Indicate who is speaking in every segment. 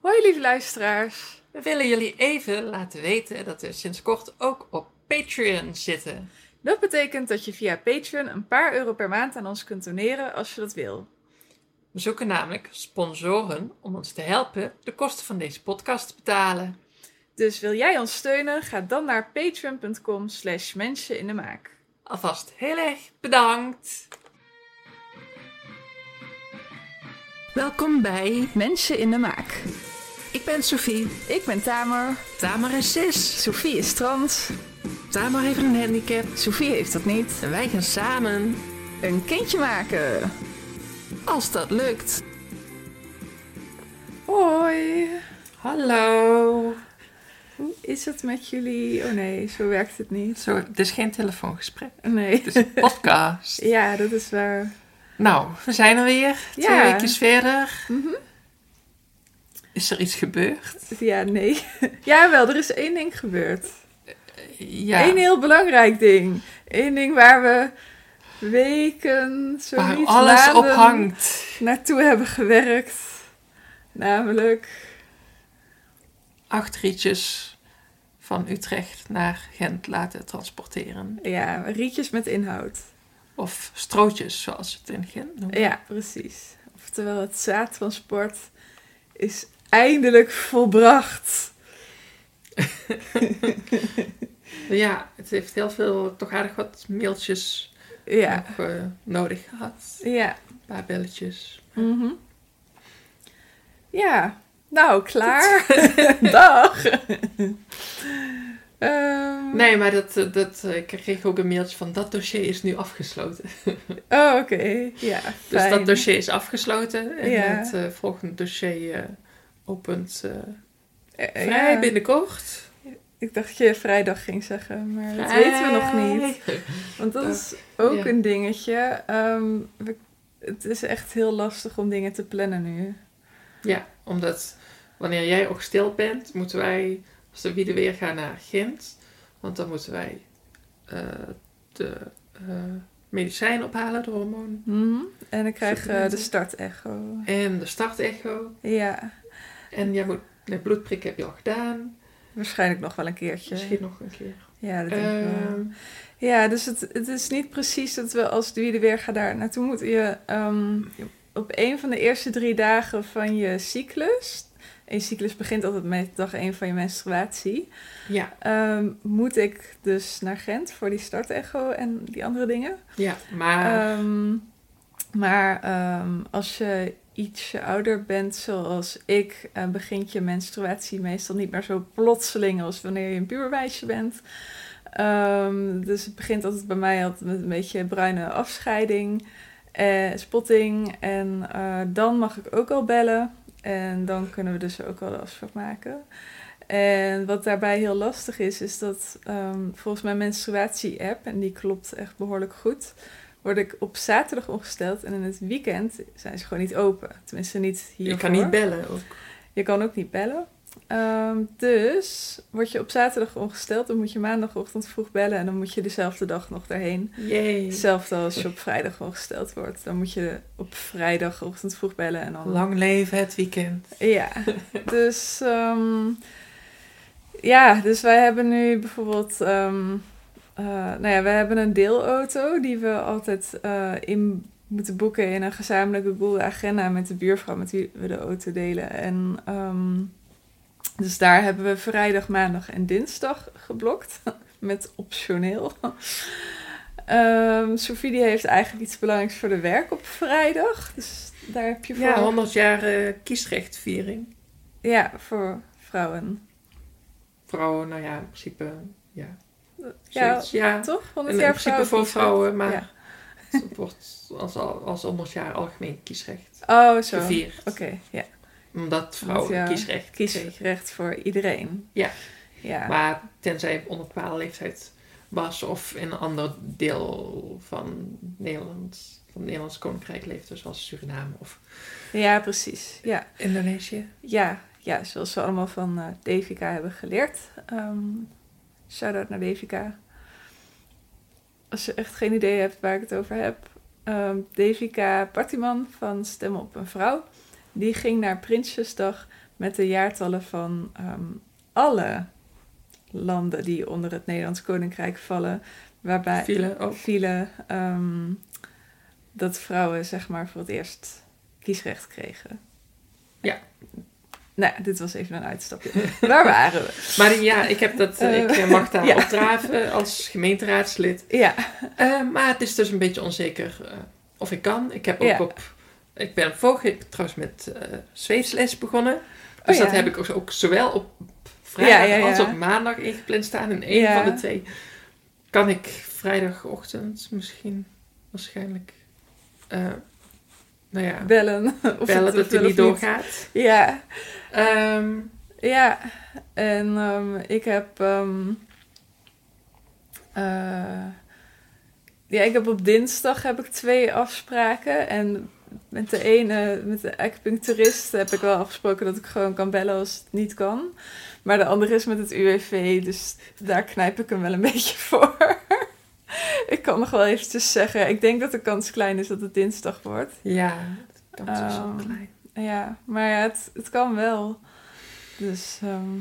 Speaker 1: Hoi lieve luisteraars.
Speaker 2: We willen jullie even laten weten dat we sinds kort ook op Patreon zitten.
Speaker 1: Dat betekent dat je via Patreon een paar euro per maand aan ons kunt doneren als je dat wil.
Speaker 2: We zoeken namelijk sponsoren om ons te helpen de kosten van deze podcast te betalen.
Speaker 1: Dus wil jij ons steunen? Ga dan naar patreon.com slash mensen in de maak.
Speaker 2: Alvast heel erg bedankt!
Speaker 3: Welkom bij
Speaker 1: Mensen in de maak.
Speaker 3: Ik ben Sophie.
Speaker 1: Ik ben Tamer.
Speaker 3: Tamer is cis.
Speaker 1: Sophie is trans.
Speaker 3: Tamer heeft een handicap.
Speaker 1: Sophie heeft dat niet.
Speaker 3: En wij gaan samen,
Speaker 1: Een kindje maken.
Speaker 3: als dat lukt.
Speaker 1: Hoi.
Speaker 2: Hallo!
Speaker 1: Hoe is het met jullie? Oh nee, zo werkt het niet.
Speaker 2: Zo, het is geen telefoongesprek,
Speaker 1: Nee.
Speaker 2: het is een podcast.
Speaker 1: Ja, dat is waar.
Speaker 2: Nou, we zijn er weer. Twee
Speaker 1: Ja.
Speaker 2: weekjes verder. Is er iets gebeurd?
Speaker 1: Ja, nee. Jawel, er is één ding gebeurd.
Speaker 2: Ja,
Speaker 1: Eén heel belangrijk ding. Eén ding waar we weken, zo
Speaker 2: waar
Speaker 1: niet
Speaker 2: alles op
Speaker 1: maanden
Speaker 2: hangt.
Speaker 1: naartoe hebben gewerkt. Namelijk,
Speaker 2: Acht rietjes van Utrecht naar Gent laten transporteren.
Speaker 1: ja, rietjes met inhoud.
Speaker 2: Of strootjes, zoals ze het in Gent noemen.
Speaker 1: Ja, precies. Oftewel, het zaadtransport is eindelijk volbracht.
Speaker 2: Ja, het heeft heel veel, toch aardig wat mailtjes
Speaker 1: Ja,
Speaker 2: nog, eh, nodig gehad.
Speaker 1: ja.
Speaker 2: Een paar belletjes.
Speaker 1: mhm. Ja, nou, klaar. Dag. Ehm,
Speaker 2: Nee, maar dat, eh, dat, eh, ik kreeg ook een mailtje van dat dossier is nu afgesloten.
Speaker 1: Oh, oké. Ja,
Speaker 2: Dus
Speaker 1: fijn.
Speaker 2: dat dossier is afgesloten en
Speaker 1: Ja.
Speaker 2: het eh, volgende dossier eh, opent eh,
Speaker 1: Eh, eh,
Speaker 2: vrij
Speaker 1: ja.
Speaker 2: binnenkort.
Speaker 1: Ik dacht dat je vrijdag ging zeggen, maar dat
Speaker 2: Vrij. Oh,
Speaker 1: weten we nog niet. Want dat is ook
Speaker 2: ja.
Speaker 1: een dingetje. Ehm, we- het is echt heel lastig om dingen te plannen nu.
Speaker 2: Ja, omdat wanneer jij ook stil bent, moeten wij, als de wieden weer gaan naar Gent, want dan moeten wij eh, de eh medicijn ophalen, de hormoon
Speaker 1: En ik krijg eh, de
Speaker 2: Supplementen.
Speaker 1: startecho.
Speaker 2: en de startecho.
Speaker 1: Ja,
Speaker 2: En jij moet, nee, bloedprik heb je al gedaan,
Speaker 1: waarschijnlijk nog wel een keertje.
Speaker 2: misschien nog een keer.
Speaker 1: Ja, dat denk ik wel.
Speaker 2: Ehm,
Speaker 1: Ja, dus het, het is niet precies dat we als de Weerga daar naartoe moeten. Je, ehm, op een van de eerste drie dagen van je cyclus... En je cyclus begint altijd met dag één van je menstruatie.
Speaker 2: ja,
Speaker 1: Ehm, moet ik dus naar Gent voor die startecho en die andere dingen.
Speaker 2: ja, maar
Speaker 1: Ehm, maar ehm, als je ietsje ouder bent, zoals ik, eh, begint je menstruatie meestal niet meer zo plotseling als wanneer je een pubermeisje bent. Ehm, dus het begint altijd bij mij altijd met een beetje bruine afscheiding, eh, spotting. En eh, dan mag ik ook al bellen. En dan kunnen we dus ook al de afspraak maken. En wat daarbij heel lastig is, is dat ehm, volgens mijn menstruatie-app, en die klopt echt behoorlijk goed, word ik op zaterdag omgesteld en in het weekend zijn ze gewoon niet open. Tenminste, niet hier.
Speaker 2: je kan niet bellen ook.
Speaker 1: Je kan ook niet bellen. Ehm, dus word je op zaterdag omgesteld, dan moet je maandagochtend vroeg bellen en dan moet je dezelfde dag nog daarheen.
Speaker 2: Jee,
Speaker 1: Hetzelfde als je op vrijdag omgesteld wordt. Dan moet je op vrijdagochtend vroeg bellen en dan
Speaker 2: Oh. lang leven het weekend.
Speaker 1: ja, dus ehm, ja, dus wij hebben nu bijvoorbeeld, ehm, eh, nou ja, we hebben een deelauto die we altijd eh, in moeten boeken in een gezamenlijke Google agenda met de buurvrouw met wie we de auto delen. En ehm, dus daar hebben we vrijdag, maandag en dinsdag geblokt met optioneel. Ehm Sophie die heeft eigenlijk iets belangrijks voor de werk op vrijdag. Dus daar heb je voor
Speaker 2: Ja, 100 jaar eh, kiesrechtviering.
Speaker 1: ja, voor vrouwen.
Speaker 2: Vrouwen, nou ja, in principe, ja.
Speaker 1: Ja,
Speaker 2: Zoiets, ja.
Speaker 1: Toch?
Speaker 2: En
Speaker 1: 100
Speaker 2: in
Speaker 1: jaar
Speaker 2: principe voor vrouwen, maar
Speaker 1: Ja.
Speaker 2: het wordt als, al- als 100 jaar algemeen kiesrecht
Speaker 1: Oh, zo. Oké,
Speaker 2: gevierd.
Speaker 1: ja.
Speaker 2: Omdat vrouwen
Speaker 1: ja,
Speaker 2: kiesrecht kregen.
Speaker 1: Kiesrecht voor iedereen.
Speaker 2: Ja.
Speaker 1: Ja.
Speaker 2: Maar tenzij onder bepaalde leeftijd was of in een ander deel van Nederland, van het Nederlands Koninkrijk leefde, zoals Suriname of
Speaker 1: ja, precies. Ja.
Speaker 2: Indonesië.
Speaker 1: Ja. ja, zoals we allemaal van eh Devika hebben geleerd. Ehm Shout-out naar Devika. Als je echt geen idee hebt waar ik het over heb. ehm Devika Partiman van Stem op een Vrouw. Die ging naar Prinsjesdag met de jaartallen van ehm, alle landen die onder het Nederlands Koninkrijk vallen, waarbij
Speaker 2: Vielen ook.
Speaker 1: vielen ehm, dat vrouwen zeg maar voor het eerst kiesrecht kregen.
Speaker 2: Ja.
Speaker 1: Nou, dit was even een uitstapje. Waar waren we?
Speaker 2: Maar ja, ik, heb dat,
Speaker 1: Eh,
Speaker 2: ik eh, mag daar
Speaker 1: ja.
Speaker 2: opdraven als gemeenteraadslid.
Speaker 1: Ja,
Speaker 2: Eh, maar het is dus een beetje onzeker eh, of ik kan. Ik heb ook
Speaker 1: Ja.
Speaker 2: op... Ik ben vorig jaar trouwens met eh Zweedsles begonnen.
Speaker 1: Oh
Speaker 2: Dus
Speaker 1: ja.
Speaker 2: dat heb ik ook, ook zowel op vrijdag
Speaker 1: Ja, ja, ja.
Speaker 2: als op maandag ingepland staan. En één
Speaker 1: Ja.
Speaker 2: van de twee kan ik vrijdagochtend misschien waarschijnlijk... eh, nou ja,
Speaker 1: bellen. Of het-
Speaker 2: bellen dat hij
Speaker 1: wel of
Speaker 2: niet doorgaat.
Speaker 1: Ja,
Speaker 2: Ehm,
Speaker 1: ja. En ehm, ik heb... ehm, eh, ja, ik heb op dinsdag heb ik twee afspraken. En met de ene, met de acupuncturist, heb ik wel afgesproken dat ik gewoon kan bellen als het niet kan. Maar de andere is met het UWV, dus daar knijp ik hem wel een beetje voor. ik kan nog wel eventjes zeggen, ik denk dat de kans klein is dat het dinsdag wordt.
Speaker 2: ja, dat kan dus wel
Speaker 1: Ehm,
Speaker 2: klein.
Speaker 1: Ja, maar ja, het, het kan wel. Dus ehm,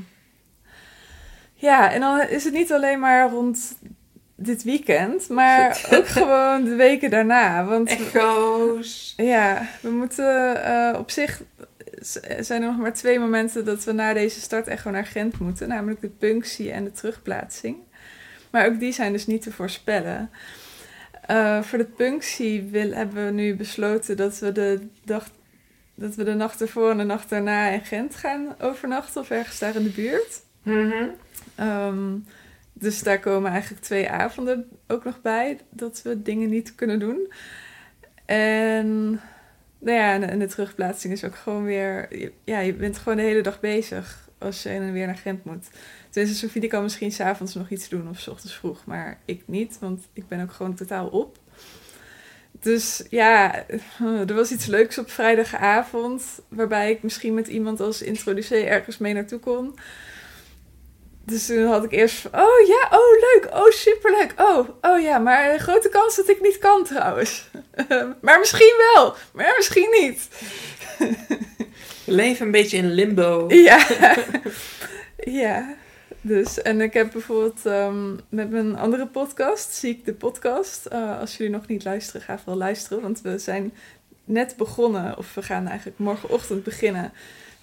Speaker 1: ja, en dan is het niet alleen maar rond dit weekend, maar ook gewoon de weken daarna. Want
Speaker 2: Echo's.
Speaker 1: ja, we moeten eh, op zich z- zijn er nog maar twee momenten dat we na deze start echt gewoon naar Gent moeten, namelijk de punctie en de terugplaatsing. Maar ook die zijn dus niet te voorspellen. Eh, voor de punctie wil, hebben we nu besloten dat we de dag dat we de nacht ervoor en de nacht daarna in Gent gaan overnachten of ergens daar in de buurt.
Speaker 2: Mhm.
Speaker 1: Ehm, dus daar komen eigenlijk twee avonden ook nog bij dat we dingen niet kunnen doen. En nou ja, en en de terugplaatsing is ook gewoon weer. je- Ja, je bent gewoon de hele dag bezig als je heen en weer naar Gent moet. Dus Sofie die kan misschien s'avonds nog iets doen of s ochtends vroeg, maar ik niet, want ik ben ook gewoon totaal op. Dus ja, er was iets leuks op vrijdagavond, waarbij ik misschien met iemand als introducee ergens mee naartoe kon. Dus toen had ik eerst van, oh ja, oh leuk, oh superleuk, oh, oh ja, maar een grote kans dat ik niet kan trouwens. maar misschien wel, maar misschien niet.
Speaker 2: We leven een beetje in limbo.
Speaker 1: Ja, ja. Dus, en ik heb bijvoorbeeld ehm, met mijn andere podcast, Ziek de Podcast. eh, als jullie nog niet luisteren, ga vooral luisteren, want we zijn net begonnen, of we gaan eigenlijk morgenochtend beginnen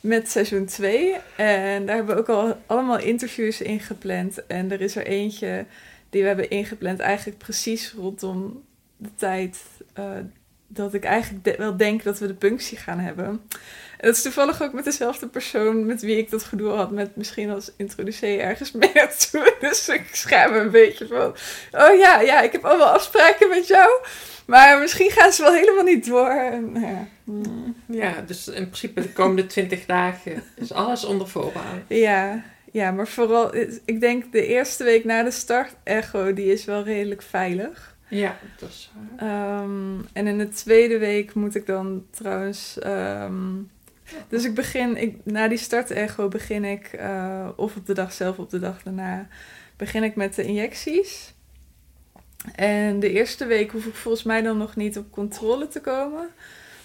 Speaker 1: met seizoen 2. En daar hebben we ook al allemaal interviews in gepland. En er is er eentje die we hebben ingepland eigenlijk precies rondom de tijd eh, dat ik eigenlijk de- wel denk dat we de punctie gaan hebben. En dat is toevallig ook met dezelfde persoon met wie ik dat gedoe had, met misschien als introducee ergens mee naartoe. Dus ik schaam me een beetje van, oh ja, ja, ik heb allemaal afspraken met jou. Maar misschien gaan ze wel helemaal niet door. En, nou ja. mm.
Speaker 2: Ja, dus in principe de komende 20 dagen is alles onder voorbouw.
Speaker 1: Ja, ja, maar vooral, ik denk de eerste week na de start, echo, die is wel redelijk veilig.
Speaker 2: Ja, dat is eh, waar.
Speaker 1: Ehm, en in de tweede week moet ik dan trouwens. ehm, dus ik begin, ik, na die start-echo begin ik, eh, of op de dag zelf, of op de dag daarna, begin ik met de injecties. En de eerste week hoef ik volgens mij dan nog niet op controle te komen.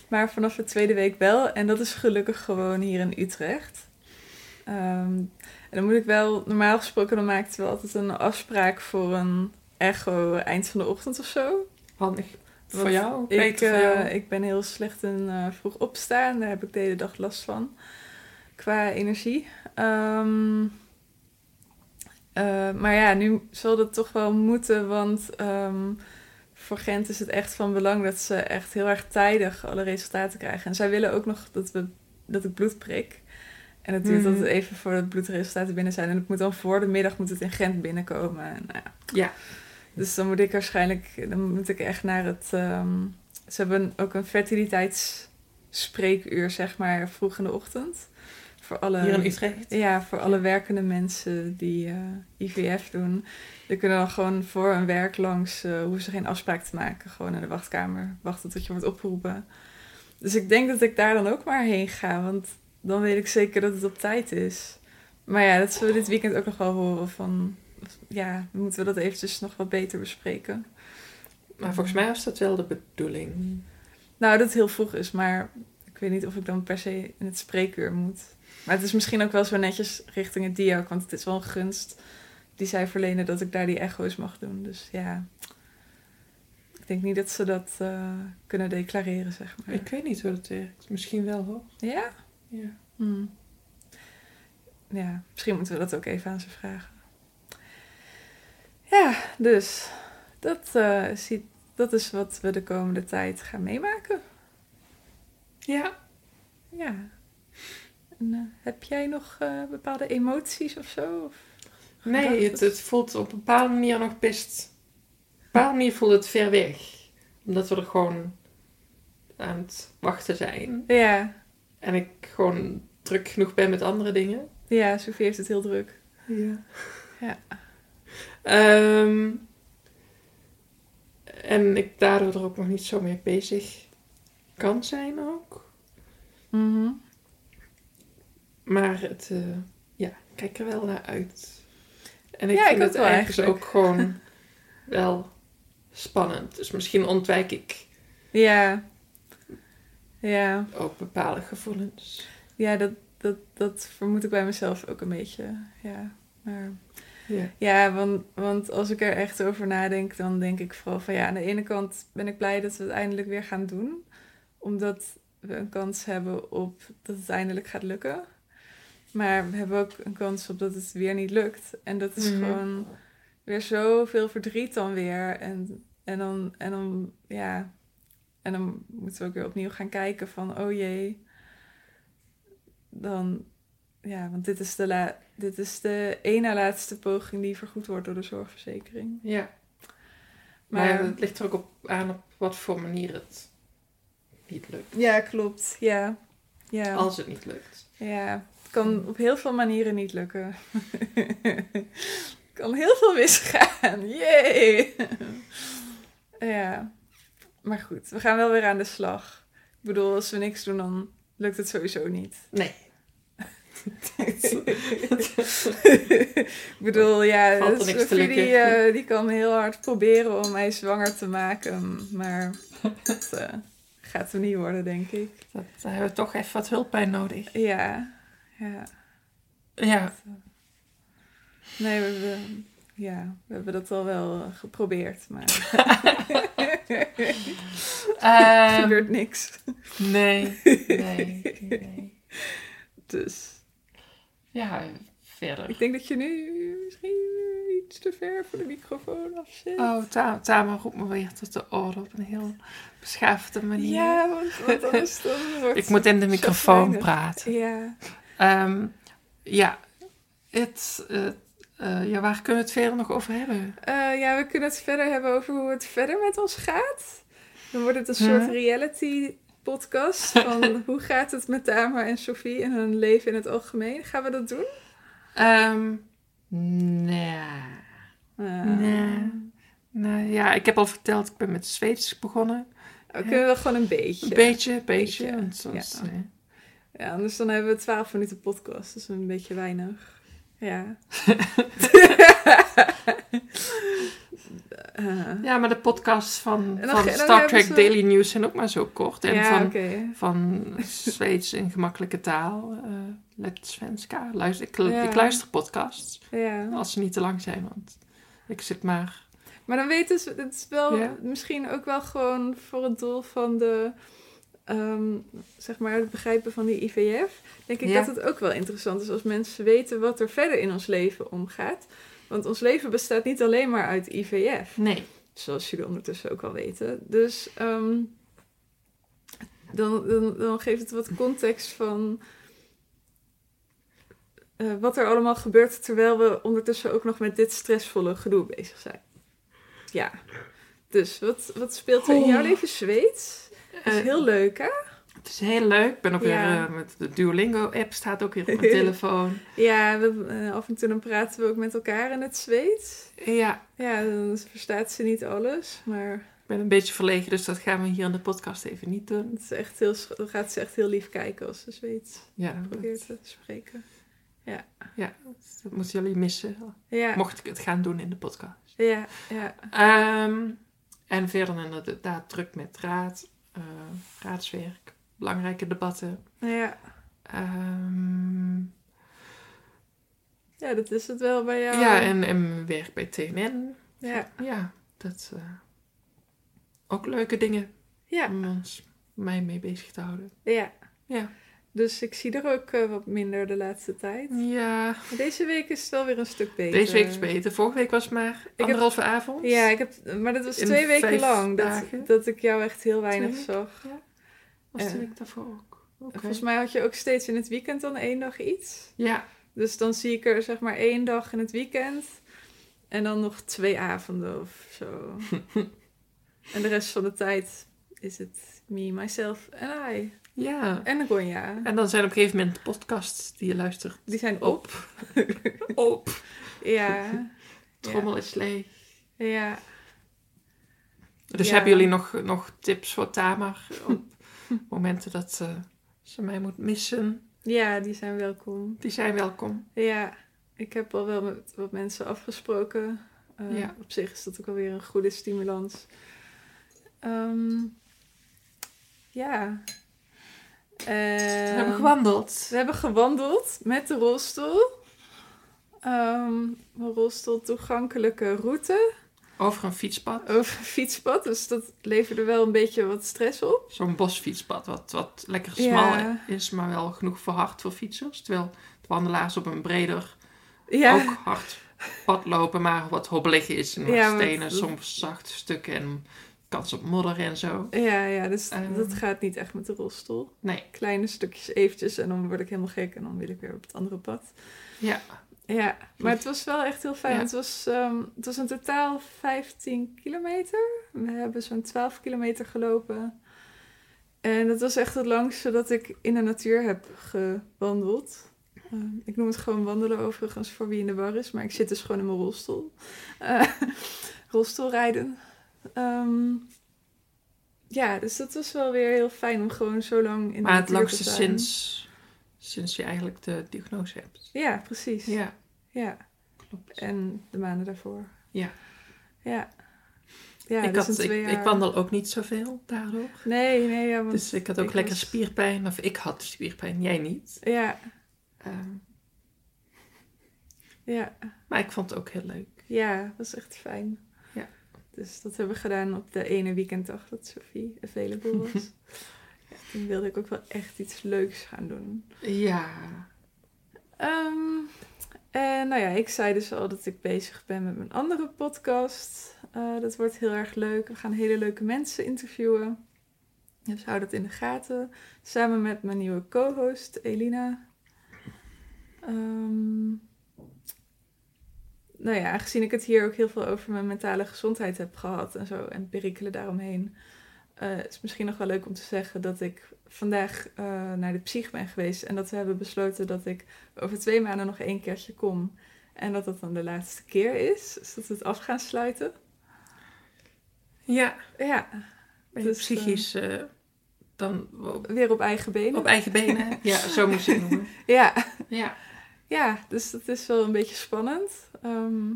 Speaker 1: Maar vanaf de tweede week wel. En dat is gelukkig gewoon hier in Utrecht. Ehm, en dan moet ik wel, normaal gesproken, dan maakten we altijd een afspraak voor een echo eind van de ochtend of zo.
Speaker 2: Handig
Speaker 1: Wat
Speaker 2: voor jou,
Speaker 1: Ik,
Speaker 2: beter voor
Speaker 1: eh,
Speaker 2: jou.
Speaker 1: ik ben heel slecht in eh, vroeg opstaan. Daar heb ik de hele dag last van. Qua energie. Ehm, eh, maar ja, nu zal dat toch wel moeten. Want ehm, voor Gent is het echt van belang dat ze echt heel erg tijdig alle resultaten krijgen. En zij willen ook nog dat, we, dat ik bloed prik. En het duurt
Speaker 2: Mhm.
Speaker 1: altijd even voordat bloedresultaten binnen zijn. En het moet dan voor de middag moet het in Gent binnenkomen. En, nou ja.
Speaker 2: Ja.
Speaker 1: Dus dan moet ik waarschijnlijk, dan moet ik echt naar het. ehm, ze hebben ook een fertiliteitsspreekuur, zeg maar, vroeg in de ochtend. Voor alle,
Speaker 2: Hier in Utrecht.
Speaker 1: ja, voor alle werkende mensen die eh, IVF doen. Die kunnen dan gewoon voor hun werk langs, eh hoeven ze geen afspraak te maken. Gewoon in de wachtkamer wachten tot je wordt opgeroepen. Dus ik denk dat ik daar dan ook maar heen ga, want dan weet ik zeker dat het op tijd is. Maar ja, dat zullen we dit weekend ook nog wel horen van... Ja, moeten we dat eventjes nog wat beter bespreken.
Speaker 2: Maar volgens mij was dat wel de bedoeling.
Speaker 1: Nou, dat het heel vroeg is, maar ik weet niet of ik dan per se in het spreekuur moet. Maar het is misschien ook wel zo netjes richting het dier, want het is wel een gunst die zij verlenen dat ik daar die echo's mag doen. Dus ja, ik denk niet dat ze dat eh, kunnen declareren, zeg maar.
Speaker 2: Ik weet niet hoe dat werkt. Misschien wel hoor.
Speaker 1: Ja?
Speaker 2: Ja.
Speaker 1: Hm. Ja, misschien moeten we dat ook even aan ze vragen. Ja, dus dat, eh, ziet, dat is wat we de komende tijd gaan meemaken.
Speaker 2: Ja.
Speaker 1: Ja. En, eh, heb jij nog eh, bepaalde emoties of zo? Of
Speaker 2: Nee, het, het voelt op een bepaalde manier nog best. Op een bepaalde manier voelt het ver weg. Omdat we er gewoon aan het wachten zijn.
Speaker 1: Ja,
Speaker 2: En ik gewoon druk genoeg ben met andere dingen.
Speaker 1: ja, Sophie heeft het heel druk.
Speaker 2: Ja.
Speaker 1: Ja.
Speaker 2: Ehm, en ik daardoor er ook nog niet zo mee bezig kan zijn ook.
Speaker 1: Mhm.
Speaker 2: Maar het, eh, ja, ik kijk er wel naar uit. En ik
Speaker 1: Ja, ik
Speaker 2: vind
Speaker 1: ook
Speaker 2: het
Speaker 1: wel
Speaker 2: ergens
Speaker 1: eigenlijk.
Speaker 2: ook gewoon wel spannend. Dus misschien ontwijk ik
Speaker 1: Ja. Ja,
Speaker 2: ook bepaalde gevoelens.
Speaker 1: ja dat, dat, dat vermoed ik bij mezelf ook een beetje. Ja, maar...
Speaker 2: Ja.
Speaker 1: Ja, want, want als ik er echt over nadenk, dan denk ik vooral van ja, aan de ene kant ben ik blij dat we het eindelijk weer gaan doen. Omdat we een kans hebben op dat het eindelijk gaat lukken. Maar we hebben ook een kans op dat het weer niet lukt. En dat is
Speaker 2: Mhm.
Speaker 1: gewoon weer zoveel verdriet dan weer. En, en dan, en dan, ja. En dan moeten we ook weer opnieuw gaan kijken van, oh jee. Dan, ja, want dit is de, la dit is de één na laatste poging die vergoed wordt door de zorgverzekering.
Speaker 2: ja. Maar,
Speaker 1: Maar,
Speaker 2: het ligt er ook op, aan op wat voor manier het niet lukt.
Speaker 1: ja, klopt. Ja. Ja.
Speaker 2: Als het niet lukt.
Speaker 1: ja. Het kan op heel veel manieren niet lukken. Het kan heel veel misgaan. Jee! ja. Maar goed, we gaan wel weer aan de slag. Ik bedoel, als we niks doen, dan lukt het sowieso niet.
Speaker 2: Nee.
Speaker 1: ik bedoel, ja,
Speaker 2: Valt er niks te
Speaker 1: Sophie die,
Speaker 2: lukken.
Speaker 1: eh, die kan heel hard proberen om mij zwanger te maken. Maar dat eh, gaat hem niet worden, denk ik.
Speaker 2: Dat, daar hebben we toch even wat hulp bij nodig.
Speaker 1: Ja, ja. eh,
Speaker 2: Ja.
Speaker 1: Nee, we hebben, ja, we hebben dat al wel eh, geprobeerd, maar er
Speaker 2: Ehm,
Speaker 1: gebeurt niks.
Speaker 2: nee. Nee. nee.
Speaker 1: Dus
Speaker 2: Ja, verder.
Speaker 1: ik denk dat je nu misschien iets te ver voor de microfoon af zit.
Speaker 2: Oh, Ta- Tamer roept me weer tot de orde op een heel beschaafde manier.
Speaker 1: ja, want, want anders dan wordt...
Speaker 2: Ik moet in de microfoon
Speaker 1: Chagrijnig.
Speaker 2: praten.
Speaker 1: Ja,
Speaker 2: Ehm, ja. Het, eh, eh, ja, waar kunnen we het verder nog over hebben?
Speaker 1: Eh, ja, we kunnen het verder hebben over hoe het verder met ons gaat. Dan wordt het een
Speaker 2: Ja.
Speaker 1: soort reality podcast van hoe gaat het met Tamar en Sophie en hun leven in het algemeen. Gaan we dat doen?
Speaker 2: Ehm nee.
Speaker 1: Eh,
Speaker 2: Nee. Nee, ja, ik heb al verteld, ik ben met Zweeds begonnen.
Speaker 1: We kunnen wel gewoon een beetje.
Speaker 2: Een beetje, een beetje.
Speaker 1: Beetje,
Speaker 2: want soms,
Speaker 1: ja.
Speaker 2: eh,
Speaker 1: Ja, anders dan hebben we 12 minuten podcast. Dat is een beetje weinig. Ja. Eh,
Speaker 2: Ja, maar de podcasts van,
Speaker 1: En dan
Speaker 2: van
Speaker 1: ge- dan
Speaker 2: Star
Speaker 1: hebben
Speaker 2: Trek
Speaker 1: ze-
Speaker 2: Daily News zijn ook maar zo kort. En
Speaker 1: ja,
Speaker 2: van,
Speaker 1: oké.
Speaker 2: van Zweeds in gemakkelijke taal, eh Let Svenska. Luister, ik, lu-
Speaker 1: Ja.
Speaker 2: ik luister podcasts,
Speaker 1: Ja.
Speaker 2: als ze niet te lang zijn, want ik zit maar...
Speaker 1: Maar dan weten ze, het is wel
Speaker 2: Ja.
Speaker 1: misschien ook wel gewoon voor het doel van de, ehm, zeg maar, het begrijpen van die IVF. Denk ik
Speaker 2: Ja.
Speaker 1: dat het ook wel interessant is als mensen weten wat er verder in ons leven omgaat. Want ons leven bestaat niet alleen maar uit IVF.
Speaker 2: Nee.
Speaker 1: zoals jullie ondertussen ook al weten. Dus ehm, dan, dan, dan geeft het wat context van eh, wat er allemaal gebeurt terwijl we ondertussen ook nog met dit stressvolle gedoe bezig zijn. Ja. Dus wat, wat speelt er in jouw
Speaker 2: Oh. Eh,
Speaker 1: leven Zweeds? Dat is heel leuk, hè?
Speaker 2: het is heel leuk. Ik ben ook
Speaker 1: Ja.
Speaker 2: weer eh, met de Duolingo-app, staat ook weer op mijn telefoon.
Speaker 1: Ja, we, eh, af en toe dan praten we ook met elkaar in het Zweeds.
Speaker 2: Ja,
Speaker 1: Ja, dan verstaat ze niet alles, maar
Speaker 2: ik ben een beetje verlegen, dus dat gaan we hier in de podcast even niet doen.
Speaker 1: het is echt heel, sch- dan gaat ze echt heel lief kijken als ze Zweeds
Speaker 2: Ja,
Speaker 1: probeer
Speaker 2: dat,
Speaker 1: te spreken.
Speaker 2: dat moeten jullie missen,
Speaker 1: Ja,
Speaker 2: mocht ik het gaan doen in de podcast.
Speaker 1: ja, ja.
Speaker 2: Ehm, en verder inderdaad druk met raad, eh, raadswerk, belangrijke debatten.
Speaker 1: ja.
Speaker 2: Eh, Ehm,
Speaker 1: Ja, dat is het wel bij jou.
Speaker 2: ja, en, en werk bij TNN.
Speaker 1: ja.
Speaker 2: Ja, dat... eh, ook leuke dingen
Speaker 1: Ja,
Speaker 2: om ons mij mee bezig te houden.
Speaker 1: ja.
Speaker 2: Ja.
Speaker 1: Dus ik zie er ook eh, wat minder de laatste tijd.
Speaker 2: Ja,
Speaker 1: Maar Deze week is het wel weer een stuk beter.
Speaker 2: deze week is beter. Vorige week was het maar
Speaker 1: heb-
Speaker 2: anderhalve avond.
Speaker 1: Ja, ik heb, maar dat was
Speaker 2: In
Speaker 1: twee weken
Speaker 2: vijf
Speaker 1: lang dat,
Speaker 2: dagen?
Speaker 1: dat ik jou echt heel weinig
Speaker 2: Twee
Speaker 1: zag.
Speaker 2: Was de
Speaker 1: eh,
Speaker 2: week daarvoor ook. Oké.
Speaker 1: Volgens mij had je ook steeds in het weekend dan één dag iets.
Speaker 2: Ja,
Speaker 1: Dus dan zie ik er zeg maar één dag in het weekend. En dan nog twee avonden of zo. en de rest van de tijd is het me, myself en I.
Speaker 2: ja.
Speaker 1: En de Gonja.
Speaker 2: En dan zijn op een gegeven moment podcasts die je luistert
Speaker 1: Die zijn op.
Speaker 2: op. op.
Speaker 1: Ja.
Speaker 2: Trommel is leeg.
Speaker 1: Ja.
Speaker 2: Dus
Speaker 1: Ja.
Speaker 2: hebben jullie nog, nog tips voor Tamar op momenten dat eh, ze mij moet missen?
Speaker 1: ja, die zijn welkom.
Speaker 2: Die zijn welkom.
Speaker 1: Ja, ik heb al wel met wat mensen afgesproken. Eh,
Speaker 2: Ja.
Speaker 1: Op zich is dat ook alweer een goede stimulans. Ehm, ja.
Speaker 2: We
Speaker 1: Ehm,
Speaker 2: hebben gewandeld.
Speaker 1: we hebben gewandeld met de rolstoel. Ehm, een rolstoel toegankelijke route
Speaker 2: Over een fietspad.
Speaker 1: over een fietspad. Dus dat leverde wel een beetje wat stress op.
Speaker 2: Zo'n bosfietspad, wat, wat lekker
Speaker 1: Ja.
Speaker 2: smal is, maar wel genoeg verhard voor fietsers. Terwijl de wandelaars op een breder,
Speaker 1: Ja,
Speaker 2: ook hard pad lopen, maar wat hobbelig is. En wat
Speaker 1: Ja, want-
Speaker 2: stenen, soms zachte stukken en kans op modder en zo.
Speaker 1: ja, ja dus
Speaker 2: Ehm.
Speaker 1: dat gaat niet echt met de rolstoel.
Speaker 2: Nee,
Speaker 1: kleine stukjes eventjes en dan word ik helemaal gek en dan wil ik weer op het andere pad.
Speaker 2: ja,
Speaker 1: Ja, maar het was wel echt heel fijn.
Speaker 2: Ja.
Speaker 1: Het, was, ehm, het was in totaal 15 kilometer. We hebben zo'n 12 kilometer gelopen. En dat was echt het langste dat ik in de natuur heb gewandeld. Ehm, ik noem het gewoon wandelen overigens voor wie in de war is, maar ik zit dus gewoon in mijn rolstoel. Eh, rolstoelrijden. Ehm, ja, dus dat was wel weer heel fijn om gewoon zo lang in de
Speaker 2: maar het
Speaker 1: natuur te
Speaker 2: langste
Speaker 1: zijn.
Speaker 2: sinds, sinds je eigenlijk de diagnose hebt.
Speaker 1: Ja, precies.
Speaker 2: Ja,
Speaker 1: ja.
Speaker 2: klopt.
Speaker 1: En de maanden daarvoor.
Speaker 2: Ja.
Speaker 1: Ja. Ja,
Speaker 2: ik,
Speaker 1: dus
Speaker 2: had,
Speaker 1: in twee
Speaker 2: ik,
Speaker 1: jaar-
Speaker 2: ik wandel ook niet zoveel daardoor.
Speaker 1: Nee, nee, ja, want...
Speaker 2: Dus ik had ook
Speaker 1: ik
Speaker 2: lekker
Speaker 1: was-
Speaker 2: spierpijn. Of ik had spierpijn, jij niet.
Speaker 1: Ja,
Speaker 2: Ehm,
Speaker 1: ja,
Speaker 2: maar ik vond het ook heel leuk.
Speaker 1: ja, dat was echt fijn.
Speaker 2: Ja.
Speaker 1: Dus dat hebben we gedaan op de ene weekenddag dat Sophie available was. ja, toen wilde ik ook wel echt iets leuks gaan doen.
Speaker 2: Ja,
Speaker 1: Ehm, en nou ja, ik zei dus al dat ik bezig ben met mijn andere podcast. Eh, dat wordt heel erg leuk. We gaan hele leuke mensen interviewen. Dus hou dat in de gaten. Samen met mijn nieuwe co-host Elina. Ehm, nou ja, aangezien ik het hier ook heel veel over mijn mentale gezondheid heb gehad en zo en perikelen daaromheen, eh, is het misschien nog wel leuk om te zeggen dat ik vandaag eh, naar de psych ben geweest en dat we hebben besloten dat ik over twee maanden nog één keertje kom en dat dat dan de laatste keer is, dus dat we het af gaan sluiten.
Speaker 2: ja
Speaker 1: Ja,
Speaker 2: ben je
Speaker 1: Dus,
Speaker 2: psychisch eh, dan op,
Speaker 1: weer op eigen benen.
Speaker 2: op eigen benen. ja, zo moet je het noemen.
Speaker 1: Ja,
Speaker 2: Ja,
Speaker 1: ja, dus dat is wel een beetje spannend. Ehm,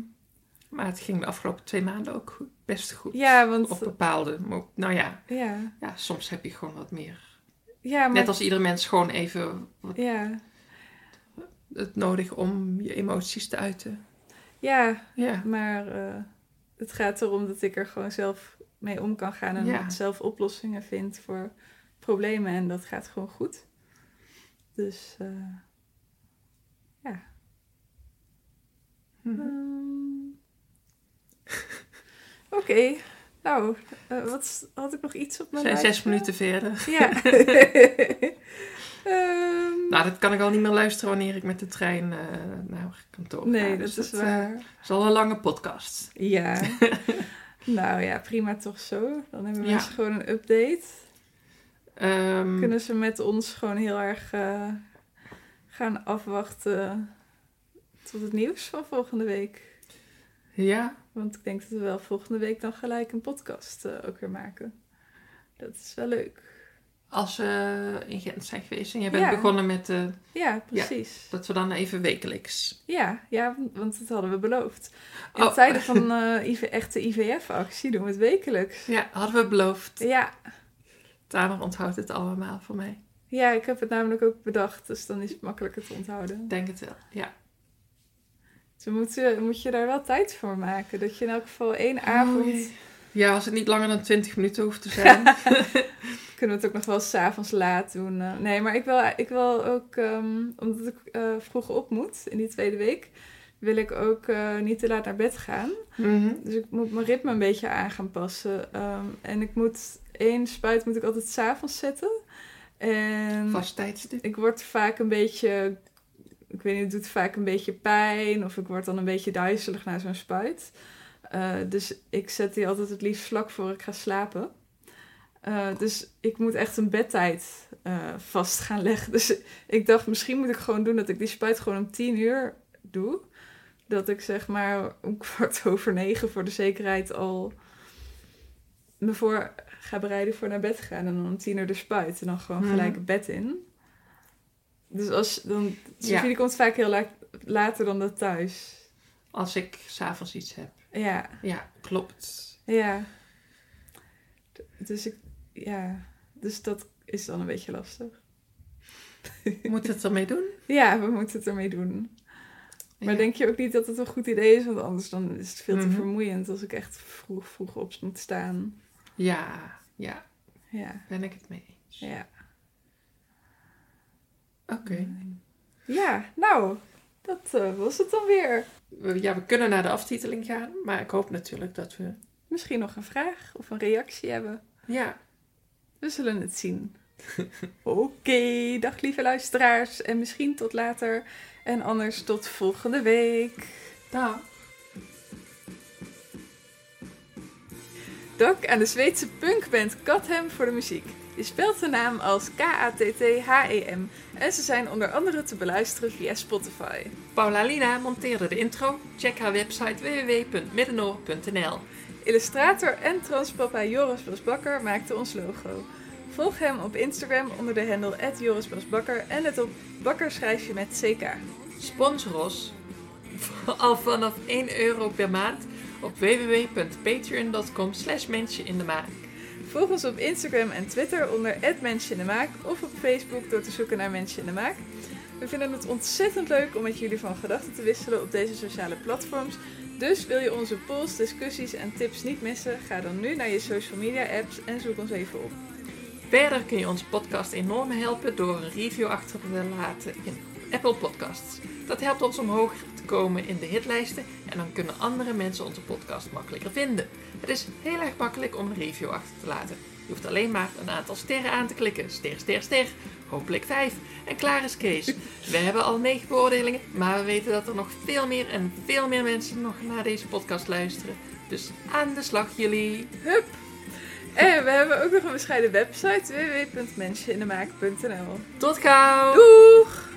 Speaker 2: maar het ging de afgelopen twee maanden ook goed, best goed.
Speaker 1: ja, want
Speaker 2: Op bepaalde, mo- nou ja,
Speaker 1: ja,
Speaker 2: ja, soms heb je gewoon wat meer.
Speaker 1: ja, maar
Speaker 2: Net als ieder mens gewoon even wat,
Speaker 1: ja,
Speaker 2: het nodig om je emoties te uiten.
Speaker 1: ja,
Speaker 2: Ja,
Speaker 1: Maar eh, het gaat erom dat ik er gewoon zelf mee om kan gaan en
Speaker 2: Ja.
Speaker 1: zelf oplossingen vind voor problemen. En dat gaat gewoon goed. Dus eh, ja. Ehm. Oké. Nou, eh, wat is- had ik nog iets op
Speaker 2: we
Speaker 1: mijn
Speaker 2: zijn
Speaker 1: lijstje?
Speaker 2: zes minuten verder.
Speaker 1: Ja. Ehm,
Speaker 2: Nou, dat kan ik al niet meer luisteren wanneer ik met de trein eh, naar kantoor ga.
Speaker 1: nee, dat
Speaker 2: Dus
Speaker 1: is
Speaker 2: eh,
Speaker 1: waar.
Speaker 2: is al een lange podcast.
Speaker 1: Ja. nou ja, prima toch zo. Dan hebben
Speaker 2: Ja.
Speaker 1: mensen gewoon een update.
Speaker 2: Ehm,
Speaker 1: Kunnen ze met ons gewoon heel erg eh, gaan afwachten tot het nieuws van volgende week.
Speaker 2: Ja,
Speaker 1: Want ik denk dat we wel volgende week dan gelijk een podcast eh, ook weer maken. Dat is wel leuk.
Speaker 2: als ze in Gent zijn geweest en jij bent
Speaker 1: Ja.
Speaker 2: begonnen met eh,
Speaker 1: Ja, precies. Ja,
Speaker 2: dat we dan even wekelijks.
Speaker 1: ja, want dat hadden we beloofd. In
Speaker 2: Oh.
Speaker 1: tijden van eh IV echte IVF-actie doen we het wekelijks.
Speaker 2: Ja, hadden we beloofd.
Speaker 1: Ja,
Speaker 2: Tamer onthoudt het allemaal voor mij.
Speaker 1: Ja, ik heb het namelijk ook bedacht, dus dan is het makkelijker te onthouden.
Speaker 2: Ik denk het wel. Ja.
Speaker 1: Dus dan moet je, moet je daar wel tijd voor maken. Dat je in elk geval één avond...
Speaker 2: Ja, als het niet langer dan 20 minuten hoeft te zijn.
Speaker 1: Kunnen we het ook nog wel s'avonds laat doen. eh. nee, maar ik wil, ik wil ook, ehm, omdat ik eh, vroeg op moet in die tweede week, wil ik ook eh, niet te laat naar bed gaan.
Speaker 2: Mhm.
Speaker 1: Dus ik moet mijn ritme een beetje aan gaan passen. Ehm, en ik moet één spuit moet ik altijd s'avonds zetten. En
Speaker 2: Vast tijdstip.
Speaker 1: ik word vaak een beetje, ik weet niet, het doet vaak een beetje pijn of ik word dan een beetje duizelig na zo'n spuit. Eh, dus ik zet die altijd het liefst vlak voor ik ga slapen. Eh, dus ik moet echt een bedtijd eh, vast gaan leggen. Dus ik dacht, misschien moet ik gewoon doen dat ik die spuit gewoon om tien uur doe. Dat ik zeg maar om kwart over negen voor de zekerheid al me voor ga bereiden voor naar bed gaan. En dan om tien uur de spuit. En dan gewoon
Speaker 2: Mhm.
Speaker 1: gelijk het bed in. Dus als dan. Sophie
Speaker 2: Ja.
Speaker 1: die komt vaak heel laat, later dan dat thuis.
Speaker 2: Als ik s'avonds iets heb.
Speaker 1: Ja,
Speaker 2: Ja, klopt.
Speaker 1: ja. D- Dus ik. Ja. Dus dat is dan een beetje lastig.
Speaker 2: Moet het ermee doen?
Speaker 1: Ja, we moeten het ermee doen. Maar
Speaker 2: Ja.
Speaker 1: denk je ook niet dat het een goed idee is? Want anders dan is het veel te
Speaker 2: Mhm.
Speaker 1: vermoeiend als ik echt vroeg, vroeg op moet staan.
Speaker 2: Ja, ja,
Speaker 1: Ja,
Speaker 2: ben ik het mee eens.
Speaker 1: ja.
Speaker 2: Oké.
Speaker 1: Ja, nou, dat eh, was het dan weer.
Speaker 2: We- Ja, we kunnen naar de aftiteling gaan, maar ik hoop natuurlijk dat we...
Speaker 1: Misschien nog een vraag of een reactie hebben.
Speaker 2: Ja,
Speaker 1: We zullen het zien. Oké, dag lieve luisteraars en misschien tot later. En anders tot volgende week.
Speaker 2: daar.
Speaker 1: Dank aan de Zweedse punkband Kathem voor de muziek. Je spelt de naam als K-A-T-T-H-E-M E en ze zijn onder andere te beluisteren via Spotify.
Speaker 2: Paula Lina monteerde de intro. Check haar website www.middenoor.nl.
Speaker 1: Illustrator en transpapa Joris Basbakker maakte ons logo. Volg hem op Instagram onder de handle Joris Basbakker en let op, bakker schrijf je met ck.
Speaker 2: Sponsor ons al vanaf 1 euro per maand op www.patreon.com slash mensje in de maak.
Speaker 1: Volg ons op Instagram en Twitter onder Mensje in de Maak of op Facebook door te zoeken naar Mensje in de Maak. We vinden het ontzettend leuk om met jullie van gedachten te wisselen op deze sociale platforms. Dus wil je onze polls, discussies en tips niet missen? Ga dan nu naar je social media apps en zoek ons even op.
Speaker 2: Verder kun je onze podcast enorm helpen door een review achter te laten in Apple Podcasts. Dat helpt ons om hoger te komen in de hitlijsten en dan kunnen andere mensen onze podcast makkelijker vinden. Het is heel erg makkelijk om een review achter te laten. Je hoeft alleen maar een aantal sterren aan te klikken. Ster, ster, ster. Hopelijk 5. En klaar is Kees. We hebben al 9 beoordelingen, maar we weten dat er nog veel meer en veel meer mensen nog naar deze podcast luisteren. Dus aan de slag jullie.
Speaker 1: Hup! En we hebben ook nog een bescheiden website www.mensjeinemaak.nl
Speaker 2: Tot gauw!
Speaker 1: Doeg!